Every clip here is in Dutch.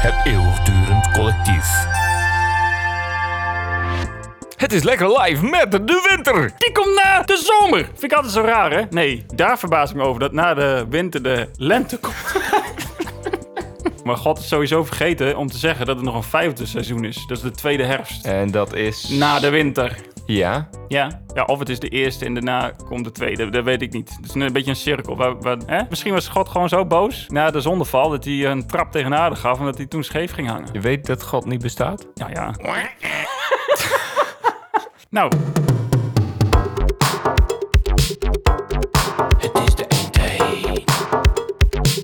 Het eeuwigdurend collectief. Het is lekker live met de winter. Die komt na de zomer. Vind ik altijd zo raar, hè? Nee, daar verbaas ik me over dat na de winter de lente komt. maar God is sowieso vergeten om te zeggen dat er nog een vijfde seizoen is. Dat is de tweede herfst. En dat is... Na de winter. Ja. Ja. ja, of het is de eerste en daarna komt de tweede. Dat weet ik niet. Het is een beetje een cirkel. Waar, waar, hè? Misschien was God gewoon zo boos na de zondeval dat hij een trap tegen de aarde gaf en dat hij toen scheef ging hangen. Je weet dat God niet bestaat? Ja, ja. nou, Het is de eindtijd.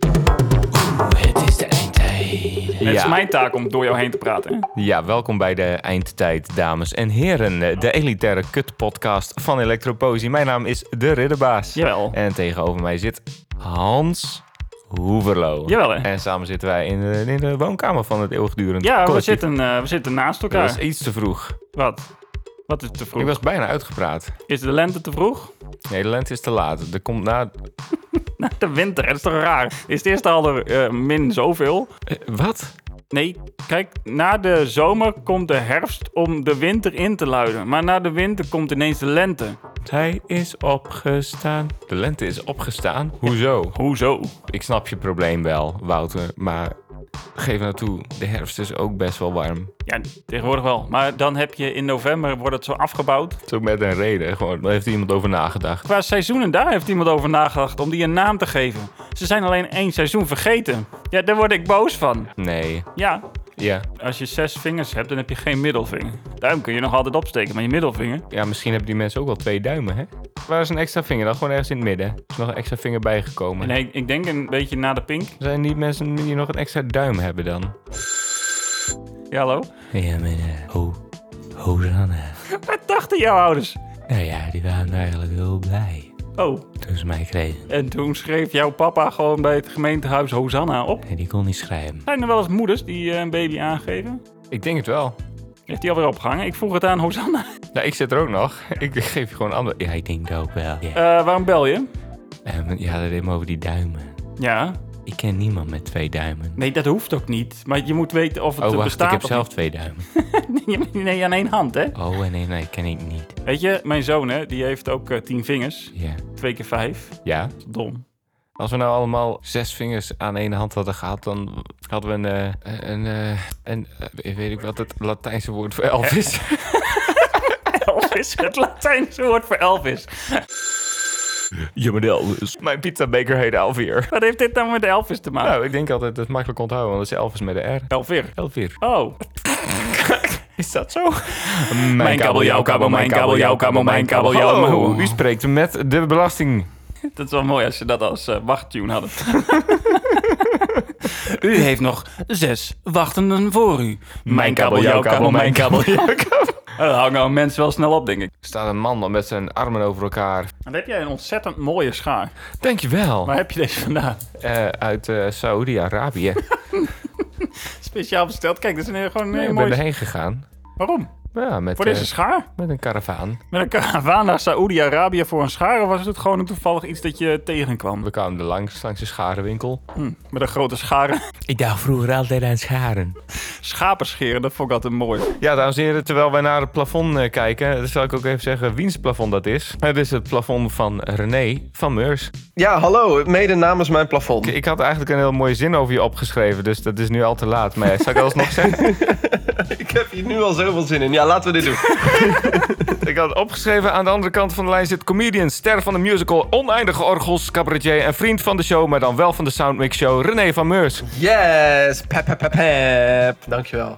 Oeh, het is de eindtijd. het ja. is mijn taak om door jou heen te praten. Hè? Ja, welkom bij de eindtijd, dames en heren. De elitaire kutpodcast van Electroposie. Mijn naam is De Ridderbaas. Jawel. En tegenover mij zit Hans Hoeverlo. Jawel, hè? En samen zitten wij in de, in de woonkamer van het eeuwigdurend Ja, we collectief. zitten, eh, we zitten naast elkaar. Dat is iets te vroeg. Wat? Wat is te vroeg? Ik was bijna uitgepraat. Is de lente te vroeg? Nederland is te laat. Er komt na... Na de winter, dat is toch raar? Is het eerst al er eh, min zoveel? Eh, wat? Nee, kijk, na de zomer komt de herfst om de winter in te luiden. Maar na de winter komt ineens de lente. Hij is opgestaan. De lente is opgestaan? Hoezo? Hoezo? Ik snap je probleem wel, Wouter, maar geef nou toe, de herfst is ook best wel warm. Ja, tegenwoordig wel. Maar dan heb je in november, wordt het zo afgebouwd. Zo met een reden, gewoon, daar heeft iemand over nagedacht. Qua seizoenen, daar heeft iemand over nagedacht om die een naam te geven. Ze zijn alleen één seizoen vergeten. Ja, daar word ik boos van. Nee, Ja, ja. Als je zes vingers hebt, dan heb je geen middelvinger. Duim kun je nog altijd opsteken, maar je middelvinger... Ja, misschien hebben die mensen ook wel twee duimen, hè? Waar is een extra vinger dan? Gewoon ergens in het midden. Er is nog een extra vinger bijgekomen. Nee, ik denk een beetje na de pink. Zijn niet mensen die nog een extra duim hebben dan? Ja, hallo? Ja, meneer. Ho, Hosanna. Wat dachten jouw ouders? Nou ja, die waren eigenlijk heel blij Oh, toen ze mij kregen. en toen schreef jouw papa gewoon bij het gemeentehuis Hosanna op. En die kon niet schrijven. Zijn er wel eens moeders die eh, een baby aangeven? Ik denk het wel. Heeft die alweer opgehangen? Ik vroeg het aan Hosanna. Nou, ik zit er ook nog. Ik geef je gewoon een ander. Ja, ik denk dat ook wel. Ja. Eh, waarom bel je? Ehm, ja, dat helemaal over die duimen. Ja. Ik ken niemand met twee duimen. Nee, dat hoeft ook niet. Maar je moet weten of het Oh, er wacht, ik bestaat heb of zelf twee duimen. niet. Nee, aan één hand, hè? Oh, en nee, nee, ken ik niet. Weet je, mijn zoon, hè, die heeft ook eh, tien vingers. Ja. Twee keer vijf. Ja? Dom. Als we nou allemaal zes vingers aan één hand hadden gehad, dan hadden we een, eh, een, eh, een, eh, weet ik wat het Latijnse woord voor elf is. Elvis, het Latijnse woord voor Elvis. Ja, maar Elvis. Mijn pizzabeker heet Alvier. Wat heeft dit nou met Elvis te maken? Nou, ik denk altijd dat het makkelijk onthouden, want het is Elvis met een R. Elvir. Elvier. Oh. Is dat zo? Mijn kabel, jouw kabel, mijn kabel, jouw kabel, mijn kabel, jouw Hallo, kabel. u spreekt met de belasting. Dat is wel mooi als ze dat als eh, wachttune hadden. u heeft nog zes wachtenden voor u. Mijn kabel, jouw kabel, mijn kabel. Dat hangen nou mensen wel snel op, denk ik. Staat een man dan met zijn armen over elkaar. Dan heb jij een ontzettend mooie schaar. Dankjewel. Waar heb je deze vandaan? Eh, uit eh Saoedi-Arabië. Speciaal besteld. Kijk, dat is een, gewoon een Nee, ik ben mooie... erheen gegaan. Waarom? Ja, met, Voor eh, deze schaar? met een karavaan. Met een karavaan naar Saoedi-Arabië voor een schaar? Of was het gewoon een toevallig iets dat je tegenkwam? We kwamen er langs, langs de scharenwinkel. Hm, met een grote scharen. Ik dacht vroeger altijd aan scharen. Schapen scheren, dat vond ik altijd mooi. Ja, dames en heren, terwijl wij naar het plafond eh, kijken, dan zal ik ook even zeggen wiens plafond dat is. Het is het plafond van René van Meurs. Ja, hallo, mede namens mijn plafond. Ik had eigenlijk een heel mooie zin over je opgeschreven, dus dat is nu al te laat. Maar ja, zal ik dat alsnog zeggen? Ik heb hier nu al zoveel zin in. Ja, laten we dit doen. ik had het opgeschreven. Aan de andere kant van de lijn zit comedian, ster van de musical, oneindige orgels, cabaretier en vriend van de show, maar dan wel van de Soundmix Show, René van Meurs. Yes, pep, pep, pep, pep. Dankjewel.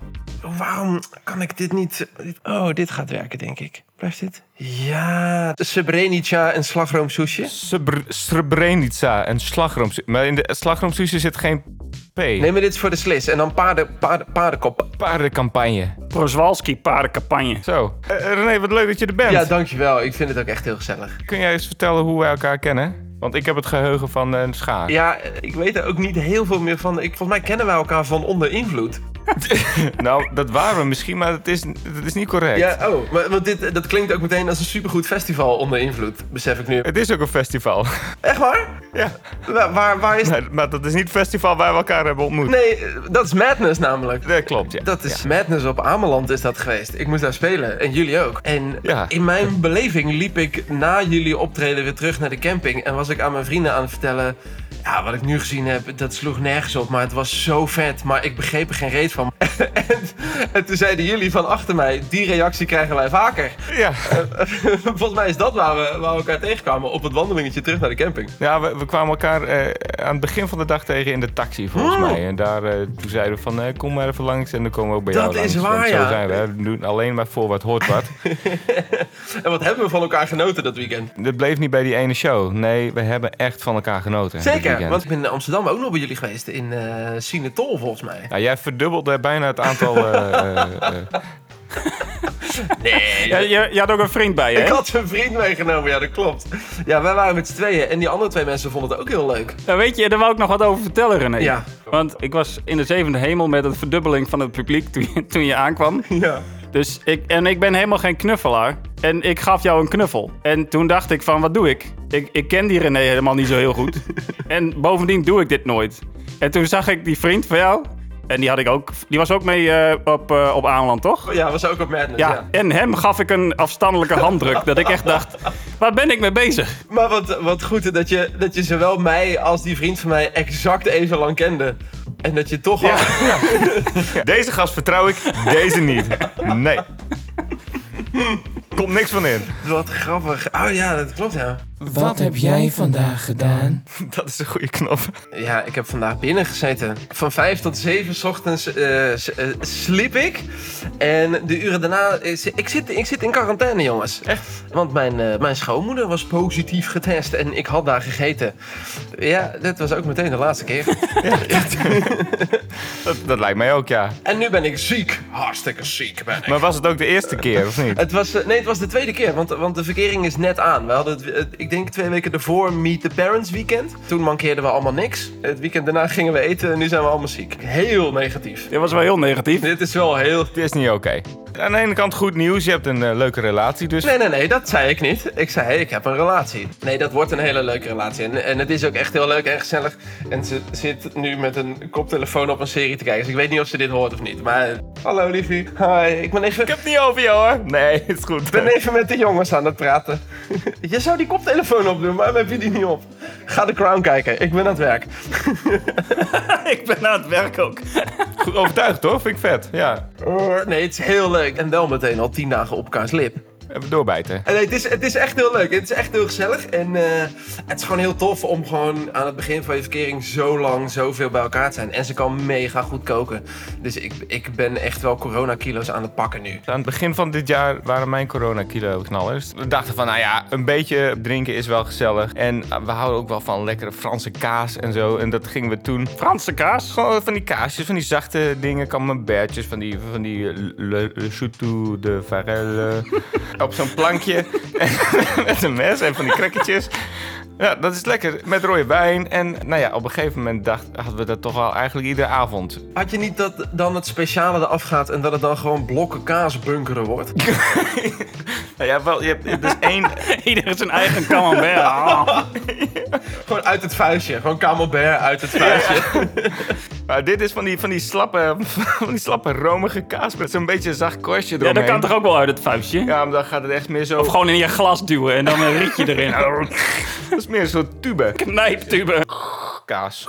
Waarom kan ik dit niet... dit- Oh, dit gaat werken, denk ik. Blijft dit? Ja, Srebrenica en slagroomsoesje. Srebr- Srebrenica en slagroom. Maar in de slagroomsushi zit geen P. Neem maar dit voor de slis. En dan paarden, paarden, paardenkop. Paardencampagne. Prozwalski paardencampagne. Zo. Eh, René, wat leuk dat je er bent. Ja, dankjewel. Ik vind het ook echt heel gezellig. Kun jij eens vertellen hoe wij elkaar kennen? Want ik heb het geheugen van een schaar. Ja, ik weet er ook niet heel veel meer van. Ik, volgens mij kennen wij elkaar van onder invloed. nou, dat waren we misschien, maar dat is, dat is niet correct. Ja, oh, maar, want dit, dat klinkt ook meteen als een supergoed festival onder invloed, besef ik nu. Het is ook een festival. Echt waar? ja. Waar, waar, waar is... maar, maar dat is niet het festival waar we elkaar hebben ontmoet. Nee, eh, dat is Madness namelijk. Dat klopt, ja. Dat is Madness op Ameland is dat geweest. Ik moest daar spelen en jullie ook. En Ja. in mijn beleving liep ik na jullie optreden weer terug naar de camping en was ik aan mijn vrienden aan het vertellen. Ja, wat ik nu gezien heb, dat sloeg nergens op, maar het was zo vet. Maar ik begreep er geen reet van. en, en toen zeiden jullie van achter mij, die reactie krijgen wij vaker. Ja, Volgens mij is dat waar we, waar we elkaar tegenkwamen, op het wandelingetje terug naar de camping. ja nou, we, we kwamen elkaar eh, aan het begin van de dag tegen in de taxi, volgens Oh. mij. En daar eh, toen zeiden we van, eh, kom maar even langs en dan komen we ook bij Dat jou langs. is waar, Want ja. Zo zijn we. hè. We doen alleen maar voor wat hoort wat. En wat hebben we van elkaar genoten dat weekend? Het bleef niet bij die ene show. Nee, we hebben echt van elkaar genoten. dit Zeker, weekend. want ik ben in Amsterdam ook nog bij jullie geweest, in eh Sinetol volgens mij. Nou, jij verdubbelde bijna het aantal... eh, eh, eh, Nee, Ja, je, je had ook een vriend bij je, Ik hè? had een vriend meegenomen, ja, dat klopt. Ja, wij waren met z'n tweeën en die andere twee mensen vonden het ook heel leuk. Nou, weet je, daar wou ik nog wat over vertellen, René. Ja. Want ik was in de zevende hemel met een verdubbeling van het publiek toen je, toen je aankwam. Ja. Dus ik, en ik ben helemaal geen knuffelaar. En ik gaf jou een knuffel. En toen dacht ik van, wat doe ik? Ik, ik ken die René helemaal niet zo heel goed. en bovendien doe ik dit nooit. En toen zag ik die vriend van jou. En die, had ik ook, die was ook mee eh, op, eh, op Aanland, toch? Ja, was ook op Madness, ja. Ja, en hem gaf ik een afstandelijke handdruk. dat ik echt dacht, waar ben ik mee bezig? Maar wat, wat goed dat je, dat je zowel mij als die vriend van mij exact even lang kende. En dat je toch al... Deze gast vertrouw ik, deze niet. Nee. Komt niks van in. Wat grappig. Oh ja, dat klopt, ja. Wat heb jij vandaag gedaan? Dat is een goede knop. Ja, ik heb vandaag binnen gezeten. Van vijf tot zeven 's ochtends eh, s- eh, sliep ik. En de uren daarna... is- ik, zit, ik zit in quarantaine, jongens. Echt? Want mijn, eh, mijn schoonmoeder was positief getest en ik had daar gegeten. Ja, dat was ook meteen de laatste keer. Dat, dat lijkt mij ook, ja. en nu ben ik ziek. Hartstikke ziek ben ik. Maar was het ook de eerste keer, of niet? Het was, eh, nee, het was de tweede keer, want, want de verkering is net aan. We hadden, het, eh, ik denk twee weken ervoor Meet the Parents weekend. Toen mankeerden we allemaal niks. Het weekend daarna gingen we eten en nu zijn we allemaal ziek. Heel negatief. Dit was wel heel negatief. Dit is wel heel... Het is niet oké. Aan de ene kant goed nieuws, je hebt een eh, leuke relatie, dus... Nee, nee, nee, dat zei ik niet. Ik zei, ik heb een relatie. Nee, dat wordt een hele leuke relatie. En, en het is ook echt heel leuk en gezellig. En ze zit nu met een koptelefoon op een serie te kijken. Dus ik weet niet of ze dit hoort of niet. Maar, hallo liefie. Hi, ik ben even... Ik heb het niet over jou, hoor. Nee, is goed. Ik ben even met de jongens aan het praten. Je zou die koptelefoon opdoen, waarom heb je die niet op? Ga de Crown kijken, ik ben aan het werk. ik ben aan het werk ook. Goed overtuigd, hoor. Vind ik vet. Ja. Oh, Nee, het is heel leuk. En wel meteen al tien dagen op elkaars lip. Even doorbijten. En nee, het, is, het is echt heel leuk, het is echt heel gezellig. En eh, het is gewoon heel tof om gewoon aan het begin van je verkering zo lang zoveel bij elkaar te zijn. En ze kan mega goed koken. Dus ik, ik ben echt wel coronakilo's aan het pakken nu. Aan het begin van dit jaar waren mijn corona-kilo-knallers. We dachten van, nou ja, een beetje drinken is wel gezellig. En eh, we houden ook wel van lekkere Franse kaas en zo. En dat gingen we toen... Franse kaas. Gewoon van die kaasjes, van die zachte dingen, camembertjes, van die, van die le, le choutou de farelle. op zo'n plankje met een mes en van die krekketjes. Ja, dat is lekker. Met rode wijn. En nou ja, op een gegeven moment dacht, hadden we dat toch wel eigenlijk iedere avond. Had je niet dat dan het speciale eraf gaat en dat het dan gewoon blokken kaas bunkeren wordt? Nou ja, wel, je hebt, het is één... Ieder zijn eigen camembert. Ah. Gewoon uit het vuistje. Gewoon camembert uit het vuistje. Maar dit is van die, van die, slappe, van die slappe romige kaas met zo'n beetje een zacht korstje Ja, eromheen. dat kan toch ook wel uit het vuistje? Ja, maar dan gaat het echt meer zo... Of gewoon in je glas duwen en dan een rietje erin. Dat is meer zo'n tube. Knijptube. Kaas.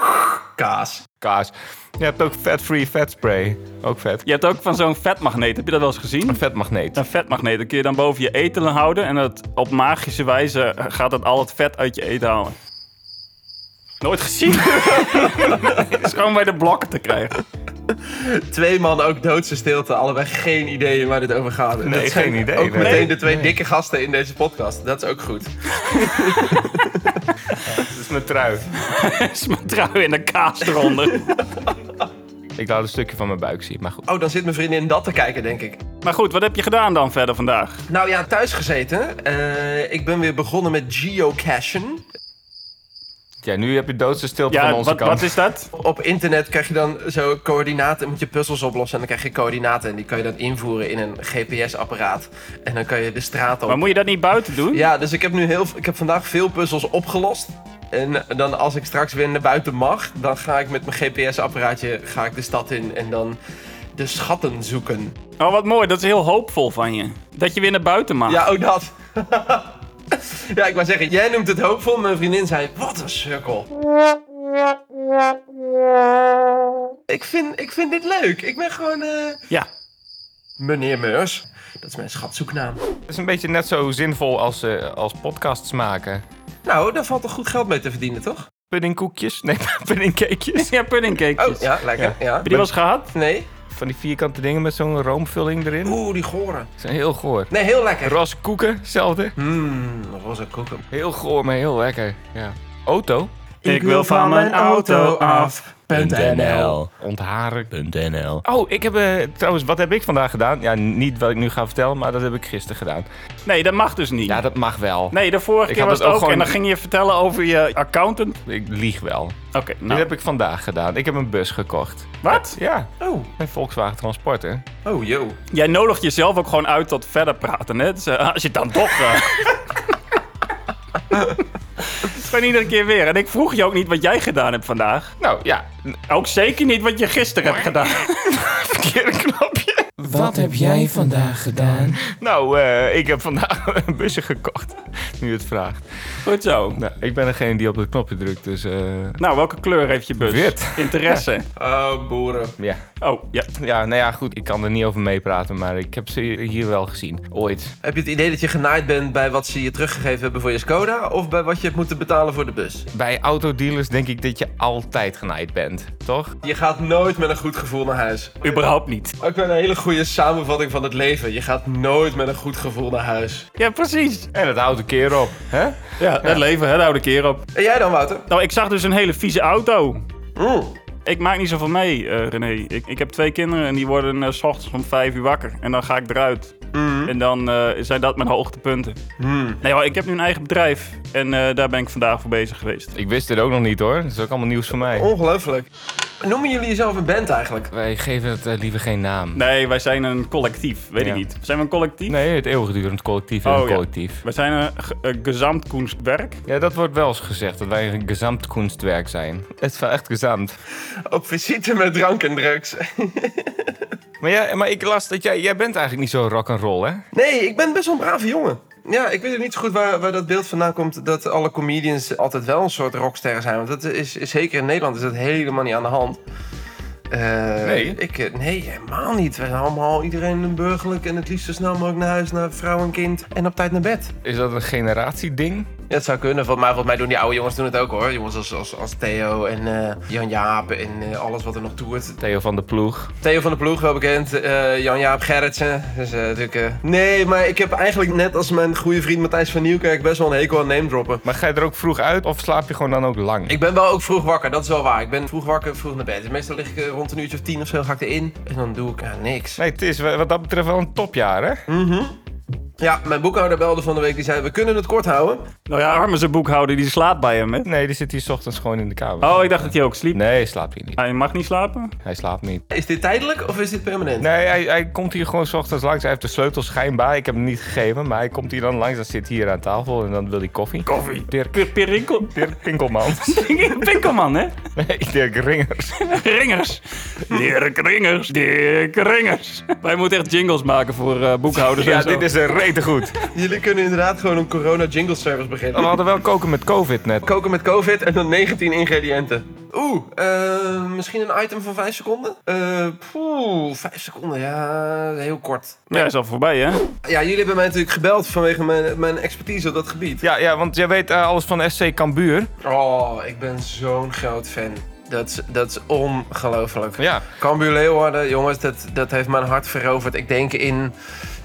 Kaas. Kaas. Je hebt ook fat-free fat spray. Ook vet. Je hebt ook van zo'n vetmagneet, heb je dat wel eens gezien? Een vetmagneet. Een vetmagneet, dat kun je dan boven je eten houden en dat op magische wijze eh, gaat het al het vet uit je eten halen. Nooit gezien. Het is gewoon bij de blokken te krijgen. Twee mannen ook doodse stilte. Allebei geen idee waar dit over gaat. Nee, zijn geen idee, Ook nee. meteen Nee. de twee dikke gasten in deze podcast. Dat is ook goed. Dat is mijn trui. is mijn trui en de kaas eronder. Ik laat een stukje van mijn buik zien, maar goed. Oh, dan zit mijn vriendin dat te kijken, denk ik. Maar goed, wat heb je gedaan dan verder vandaag? Nou ja, thuis gezeten. Eh, ik ben weer begonnen met geocachen. Ja, nu heb je doodse stilte van Ja, onze wat, kant. wat is dat? Op internet krijg je dan zo coördinaten, moet je puzzels oplossen en dan krijg je coördinaten en die kan je dan invoeren in een GPS-apparaat. En dan kan je de straat op. Maar moet je dat niet buiten doen? Ja, dus ik heb nu heel, ik heb vandaag veel puzzels opgelost. En dan als ik straks weer naar buiten mag, dan ga ik met mijn GPS-apparaatje ga ik de stad in en dan de schatten zoeken. Oh, wat mooi. Dat is heel hoopvol van je. Dat je weer naar buiten mag. Ja, ook dat. ja, ik wou zeggen, jij noemt het hoopvol. Mijn vriendin zei, wat een sukkel. Ik vind, ik vind dit leuk. Ik ben gewoon... eh, Ja. Meneer Meurs. Dat is mijn schatzoeknaam. Het is een beetje net zo zinvol als, eh, als podcasts maken. Nou, daar valt toch goed geld mee te verdienen, toch? Puddingkoekjes? Nee, puddingcakejes. Ja, puddingcakejes. Oh, ja, lekker. Ja. Heb je die wel eens gehad? Nee? Van die vierkante dingen met zo'n roomvulling erin. Oeh, die goren. Die zijn heel goor. Nee, heel lekker. Ras koeken, hetzelfde. Hm. Mmm, roze koeken. Heel goor, maar heel lekker. Ja. Auto. Ik wil van mijn auto af. Ontharen. .nl Oh, ik heb eh, trouwens, wat heb ik vandaag gedaan? Ja, niet wat ik nu ga vertellen, maar dat heb ik gisteren gedaan. Nee, dat mag dus niet. Ja, dat mag wel. Nee, de vorige Ik keer had was het het ook ook. gewoon- En dan ging je vertellen over je accountant. Ik lieg wel. Oké, Dit nou. heb ik vandaag gedaan. Ik heb een bus gekocht. Wat? Ja, Oh, een Volkswagen Transporter. oh, yo. Jij nodigt jezelf ook gewoon uit tot verder praten, hè? Dus, eh, als je het dan toch... eh, Het is gewoon iedere keer weer. En ik vroeg je ook niet wat jij gedaan hebt vandaag. Nou ja, Ook zeker niet wat je gisteren hebt gedaan. verkeerde knopje. Wat heb jij vandaag gedaan? Nou, eh, ik heb vandaag bussen gekocht. Nu het vraagt. Goed zo. Nou, ik ben degene die op het knopje drukt, dus eh, Nou, welke kleur heeft je bus? Wit. Interesse. Oh, boeren. ja. Oh, ja. Ja, nou ja, goed. Ik kan er niet over meepraten, maar ik heb ze hier wel gezien. Ooit. Heb je het idee dat je genaaid bent bij wat ze je teruggegeven hebben voor je Skoda? Of bij wat je hebt moeten betalen voor de bus? Bij autodealers denk ik dat je altijd genaaid bent, toch? Je gaat nooit met een goed gevoel naar huis. Überhaupt niet. Ook wel een hele goede samenvatting van het leven. Je gaat nooit met een goed gevoel naar huis. Ja, precies. En dat houdt een keer op, hè? Ja, het leven, hè, de oude keer op. En jij dan, Wouter? Nou, ik zag dus een hele vieze auto. Mm. Ik maak niet zoveel mee, eh, René. Ik, ik heb twee kinderen en die worden eh, s ochtends om vijf uur wakker. En dan ga ik eruit. En dan eh, zijn dat mijn hoogtepunten. Nee hoor, ik heb nu een eigen bedrijf. En eh, daar ben ik vandaag voor bezig geweest. Ik wist dit ook nog niet hoor. Dat is ook allemaal nieuws voor mij. Ongelooflijk. Noemen jullie jezelf een band eigenlijk? Wij geven het eh, liever geen naam. Nee, wij zijn een collectief. Weet Ja. ik niet. Zijn we een collectief? Nee, het eeuwigdurend collectief en Oh, een ja. collectief. We zijn een, ge- een gezamtkunstwerk. Ja. dat wordt wel eens gezegd, dat wij een gezamt kunstwerk zijn. Het is wel echt gezamt. Op visite met drank en drugs. Maar, ja, maar ik las dat jij, jij bent eigenlijk niet zo rock'n'roll, hè? Nee, ik ben best wel een brave jongen. Ja, ik weet ook niet zo goed waar, waar dat beeld vandaan komt dat alle comedians altijd wel een soort rockster zijn. Want dat is, is zeker in Nederland is dat helemaal niet aan de hand. Eh, Nee? Ik, eh, nee, helemaal niet. We zijn allemaal iedereen burgerlijk en het liefst zo snel mogelijk naar huis, naar vrouw en kind en op tijd naar bed. Is dat een generatieding? Ja, dat zou kunnen, Vol- maar volgens mij doen die oude jongens doen het ook hoor. Jongens als, als, als Theo en eh, Jan Jaap en eh, alles wat er nog toert. Theo van de Ploeg. Theo van de Ploeg, wel bekend. eh, Jan-Jaap Gerritsen. Dus, eh, natuurlijk, eh, Nee, maar ik heb eigenlijk net als mijn goede vriend Matthijs van Nieuwkerk best wel een hekel aan name droppen. Maar ga je er ook vroeg uit of slaap je gewoon dan ook lang? Ik ben wel ook vroeg wakker, dat is wel waar. Ik ben vroeg wakker, vroeg naar bed. Dus meestal lig ik eh, rond een uurtje of tien of zo, ga ik erin. En dan doe ik ja, niks. Nee, het is wa- wat dat betreft wel een topjaar, hè? Ja, mijn boekhouder belde van de week, die zei, we kunnen het kort houden. Nou ja, arme zijn boekhouder, die slaapt bij hem, hè? Nee, die zit hier 's ochtends gewoon in de kamer. Oh, ik dacht dat hij ook sliep. Nee, slaapt hij niet. Hij mag niet slapen? Hij slaapt niet. Is dit tijdelijk of is dit permanent? Nee, hij, hij komt hier gewoon 's ochtends langs. Hij heeft de sleutel schijnbaar. Ik heb hem niet gegeven, maar hij komt hier dan langs. Dan zit hij hier aan tafel en dan wil hij koffie. Koffie. Dirk, P- Perinkel. Dirk Pinkelman. Pinkelman, hè? nee, Dirk Ringers. Ringers. Dirk Ringers. Dirk Ringers. Wij moeten echt jingles maken voor eh, boekhouders Ja, en zo. dit is een rete goed. Jullie kunnen inderdaad gewoon een corona jingle service We beginnen. hadden wel koken met COVID net. Koken met covid en dan 19 ingrediënten. Oeh, eh, misschien een item van 5 seconden? Eh, poeh, 5 seconden, ja, heel kort. Ja, is al voorbij, hè? Ja, jullie hebben mij natuurlijk gebeld vanwege mijn, mijn expertise op dat gebied. Ja, ja, want jij weet eh, alles van SC Cambuur. Oh, ik ben zo'n groot fan. Dat is, dat is ongelooflijk. Ja, Cambuur Leeuwarden, jongens, dat, dat heeft mijn hart veroverd. Ik denk in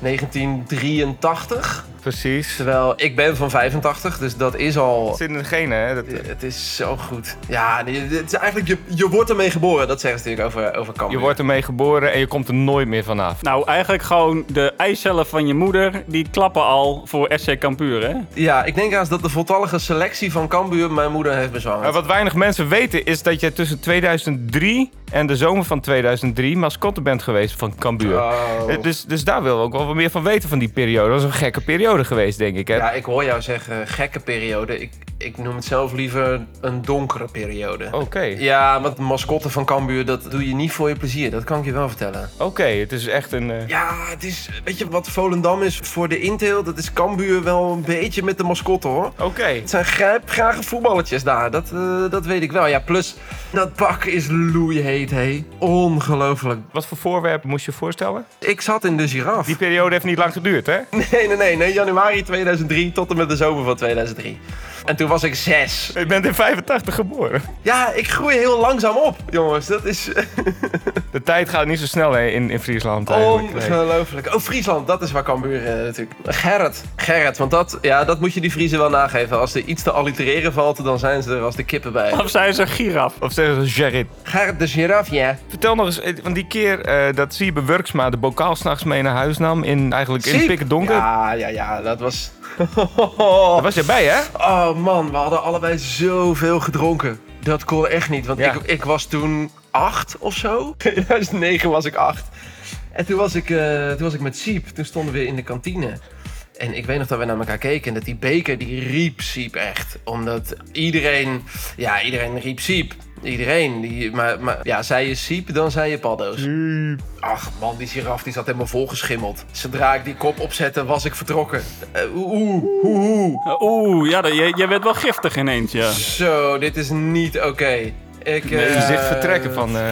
1983. precies. Het Terwijl ik ben van 85, dus dat is al... zit in de genen, hè? Dat, Het is zo goed. Ja, nee, het is eigenlijk, je, je wordt ermee geboren. Dat zeggen ze natuurlijk over, over Cambuur. je wordt ermee geboren en je komt er nooit meer vanaf. Nou, eigenlijk gewoon de eicellen van je moeder, die klappen al voor SC Campuur, hè? Ja, ik denk haast dat de voltallige selectie van Cambuur mijn moeder heeft bezwangerd. Maar wat weinig mensen weten is dat je tussen 2003 en de zomer van 2003 mascotte bent geweest van Cambuur. Oh. Eh, Dus, dus daar wil ik ook wel wat meer van weten van die periode. Dat is een gekke periode geweest, denk ik. Hè? Ja, ik hoor jou zeggen gekke periode. Ik, ik noem het zelf liever een donkere periode. Oké, Ja, want mascotten van Cambuur, dat doe je niet voor je plezier. Dat kan ik je wel vertellen. oké. Het is echt een... eh, Ja, het is, weet je wat Volendam is voor de intel? Dat is Cambuur wel een beetje met de mascotte hoor. Oké. Het zijn grijpgrage voetballetjes daar, dat, eh, dat weet ik wel. Ja, plus dat pak is loeiheet, hé. Ongelooflijk. Wat voor voorwerpen moest je voorstellen? Ik zat in de giraf. Die periode heeft niet lang geduurd, hè? Nee, nee, nee, nee. Januari 2003 tot en met de zomer van 2003. En toen was ik zes. Je bent in 85 geboren. Ja, ik groei heel langzaam op, jongens. Dat is De tijd gaat niet zo snel hè, in, in Friesland eigenlijk. nee. ongelooflijk. Oh, Friesland, dat is waar Cambuur eh, natuurlijk. Gerrit, Gerrit, want dat, ja, dat moet je die Friese wel nageven. Als er iets te allitereren valt, dan zijn ze er als de kippen bij. Of zijn ze een giraf? Of zeggen ze Gerrit. Gerrit de giraf, ja. Vertel nog eens, eh, van die keer eh, dat Siebe Wurksma de bokaal s'nachts mee naar huis nam. In, eigenlijk in het Siep. pikken donker. Ja, ja, ja, dat was... Daar was jij bij, hè? Oh man, we hadden allebei zoveel gedronken. Dat kon echt niet, want Ja. ik, ik was toen acht of zo. 2009 was ik acht. En toen was ik, eh, toen was ik met Siep. Toen stonden we in de kantine. En ik weet nog dat we naar elkaar keken en dat die beker die riep Siep echt. Omdat iedereen, ja, iedereen riep Siep. Iedereen. Die, maar, maar ja, zei je Siep, dan zei je paddo's. Ach man, die giraf die zat helemaal volgeschimmeld. Zodra ik die kop opzette, was ik vertrokken. Eh, Oeh, oeh, oeh, oeh. Eh, Oeh, ja, dat- jij, jij werd wel giftig ineens, ja. Zo, dit is niet oké. Ik. Nee, je eh, zegt vertrekken van... eh,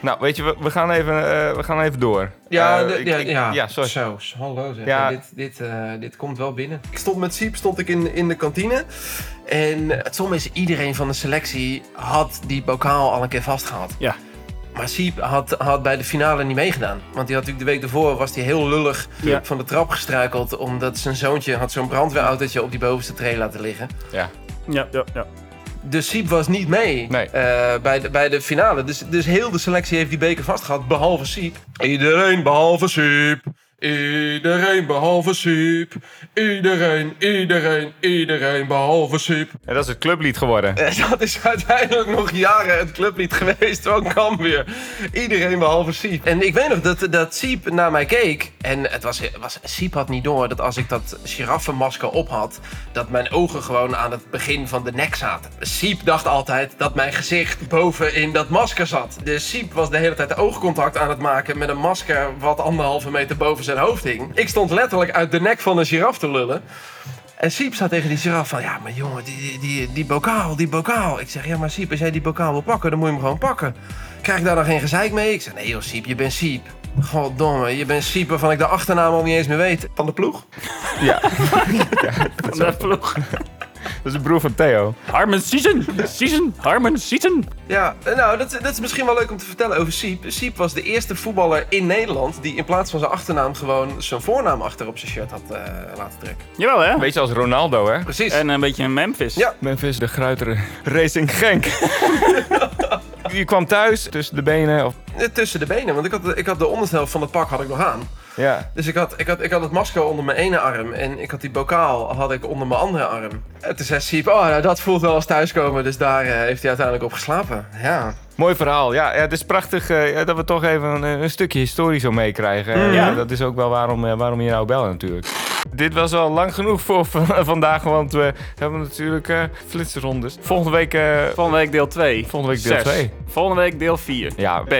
Nou, weet je, we, we gaan even, eh, we gaan even door. Ja, Eh, de- ik- ja, ik- ja. ja, sorry. Zo, s- hallo zeg. Ja. Dit, dit, eh, dit komt wel binnen. Ik stond met Siep stond ik in, in de kantine. En het som is, iedereen van de selectie had die bokaal al een keer vastgehad. Ja. Maar Siep had, had bij de finale niet meegedaan. Want die had natuurlijk de week daarvoor was hij heel lullig Ja. van de trap gestruikeld. Omdat zijn zoontje had zo'n brandweerautootje op die bovenste tree laten liggen. Ja. Ja, ja, ja. De Siep was niet mee Nee. eh, bij, de, bij de finale. Dus, dus heel de selectie heeft die beker vastgehad, behalve Siep. Iedereen behalve Siep. Iedereen behalve Siep. Iedereen, iedereen, iedereen behalve Siep. En dat is het clublied geworden. Eh, Dat is uiteindelijk nog jaren het clublied geweest van Cambuur. Iedereen behalve Siep. En ik weet nog dat, dat Siep naar mij keek. En het was, was, Siep had niet door dat als ik dat giraffenmasker op had... dat mijn ogen gewoon aan het begin van de nek zaten. Siep dacht altijd dat mijn gezicht boven in dat masker zat. Dus Siep was de hele tijd oogcontact aan het maken... met een masker wat anderhalve meter boven zijn hoofd hing. Ik stond letterlijk uit de nek van een giraf te lullen. En Siep staat tegen die giraf van, ja, maar jongen, die, die, die, die bokaal, die bokaal. Ik zeg, ja, maar Siep, als jij die bokaal wil pakken, dan moet je hem gewoon pakken. Krijg ik daar dan geen gezeik mee? Ik zeg, nee joh, Siep, je bent Siep. Goddomme, je bent Siep waarvan ik de achternaam al niet eens meer weet. Van de ploeg? Ja, Van de ploeg. dat is de broer van Theo. Harmon Season! Season! Harmon Season! Ja, nou, dat, dat is misschien wel leuk om te vertellen over Siep. Siep was de eerste voetballer in Nederland die in plaats van zijn achternaam gewoon zijn voornaam achter op zijn shirt had eh, laten drukken. Jawel, hè? Een beetje als Ronaldo, hè? Precies. En een beetje een Memphis. Ja. Memphis de Gruiteren. Racing Genk. je kwam thuis tussen de benen. Of, Eh, Tussen de benen, want ik had, ik had de onderste helft van het pak had ik nog aan. ja. Dus ik had, ik, had, ik had het masker onder mijn ene arm en ik had die bokaal had ik onder mijn andere arm. En toen zei Siep, oh, nou, dat voelt wel als thuiskomen, dus daar eh, heeft hij uiteindelijk op geslapen. Ja. Mooi verhaal. Ja, ja, het is prachtig eh, ja, dat we toch even een, een stukje historie zo meekrijgen. Eh, Ja. Dat is ook wel waarom, eh, waarom je nou bellen natuurlijk. Dit was al lang genoeg voor v- vandaag, want we hebben natuurlijk eh flitsrondes. Volgende week, eh, Volgende week deel 2. Volgende week deel twee. Volgende week deel 4. ja, B.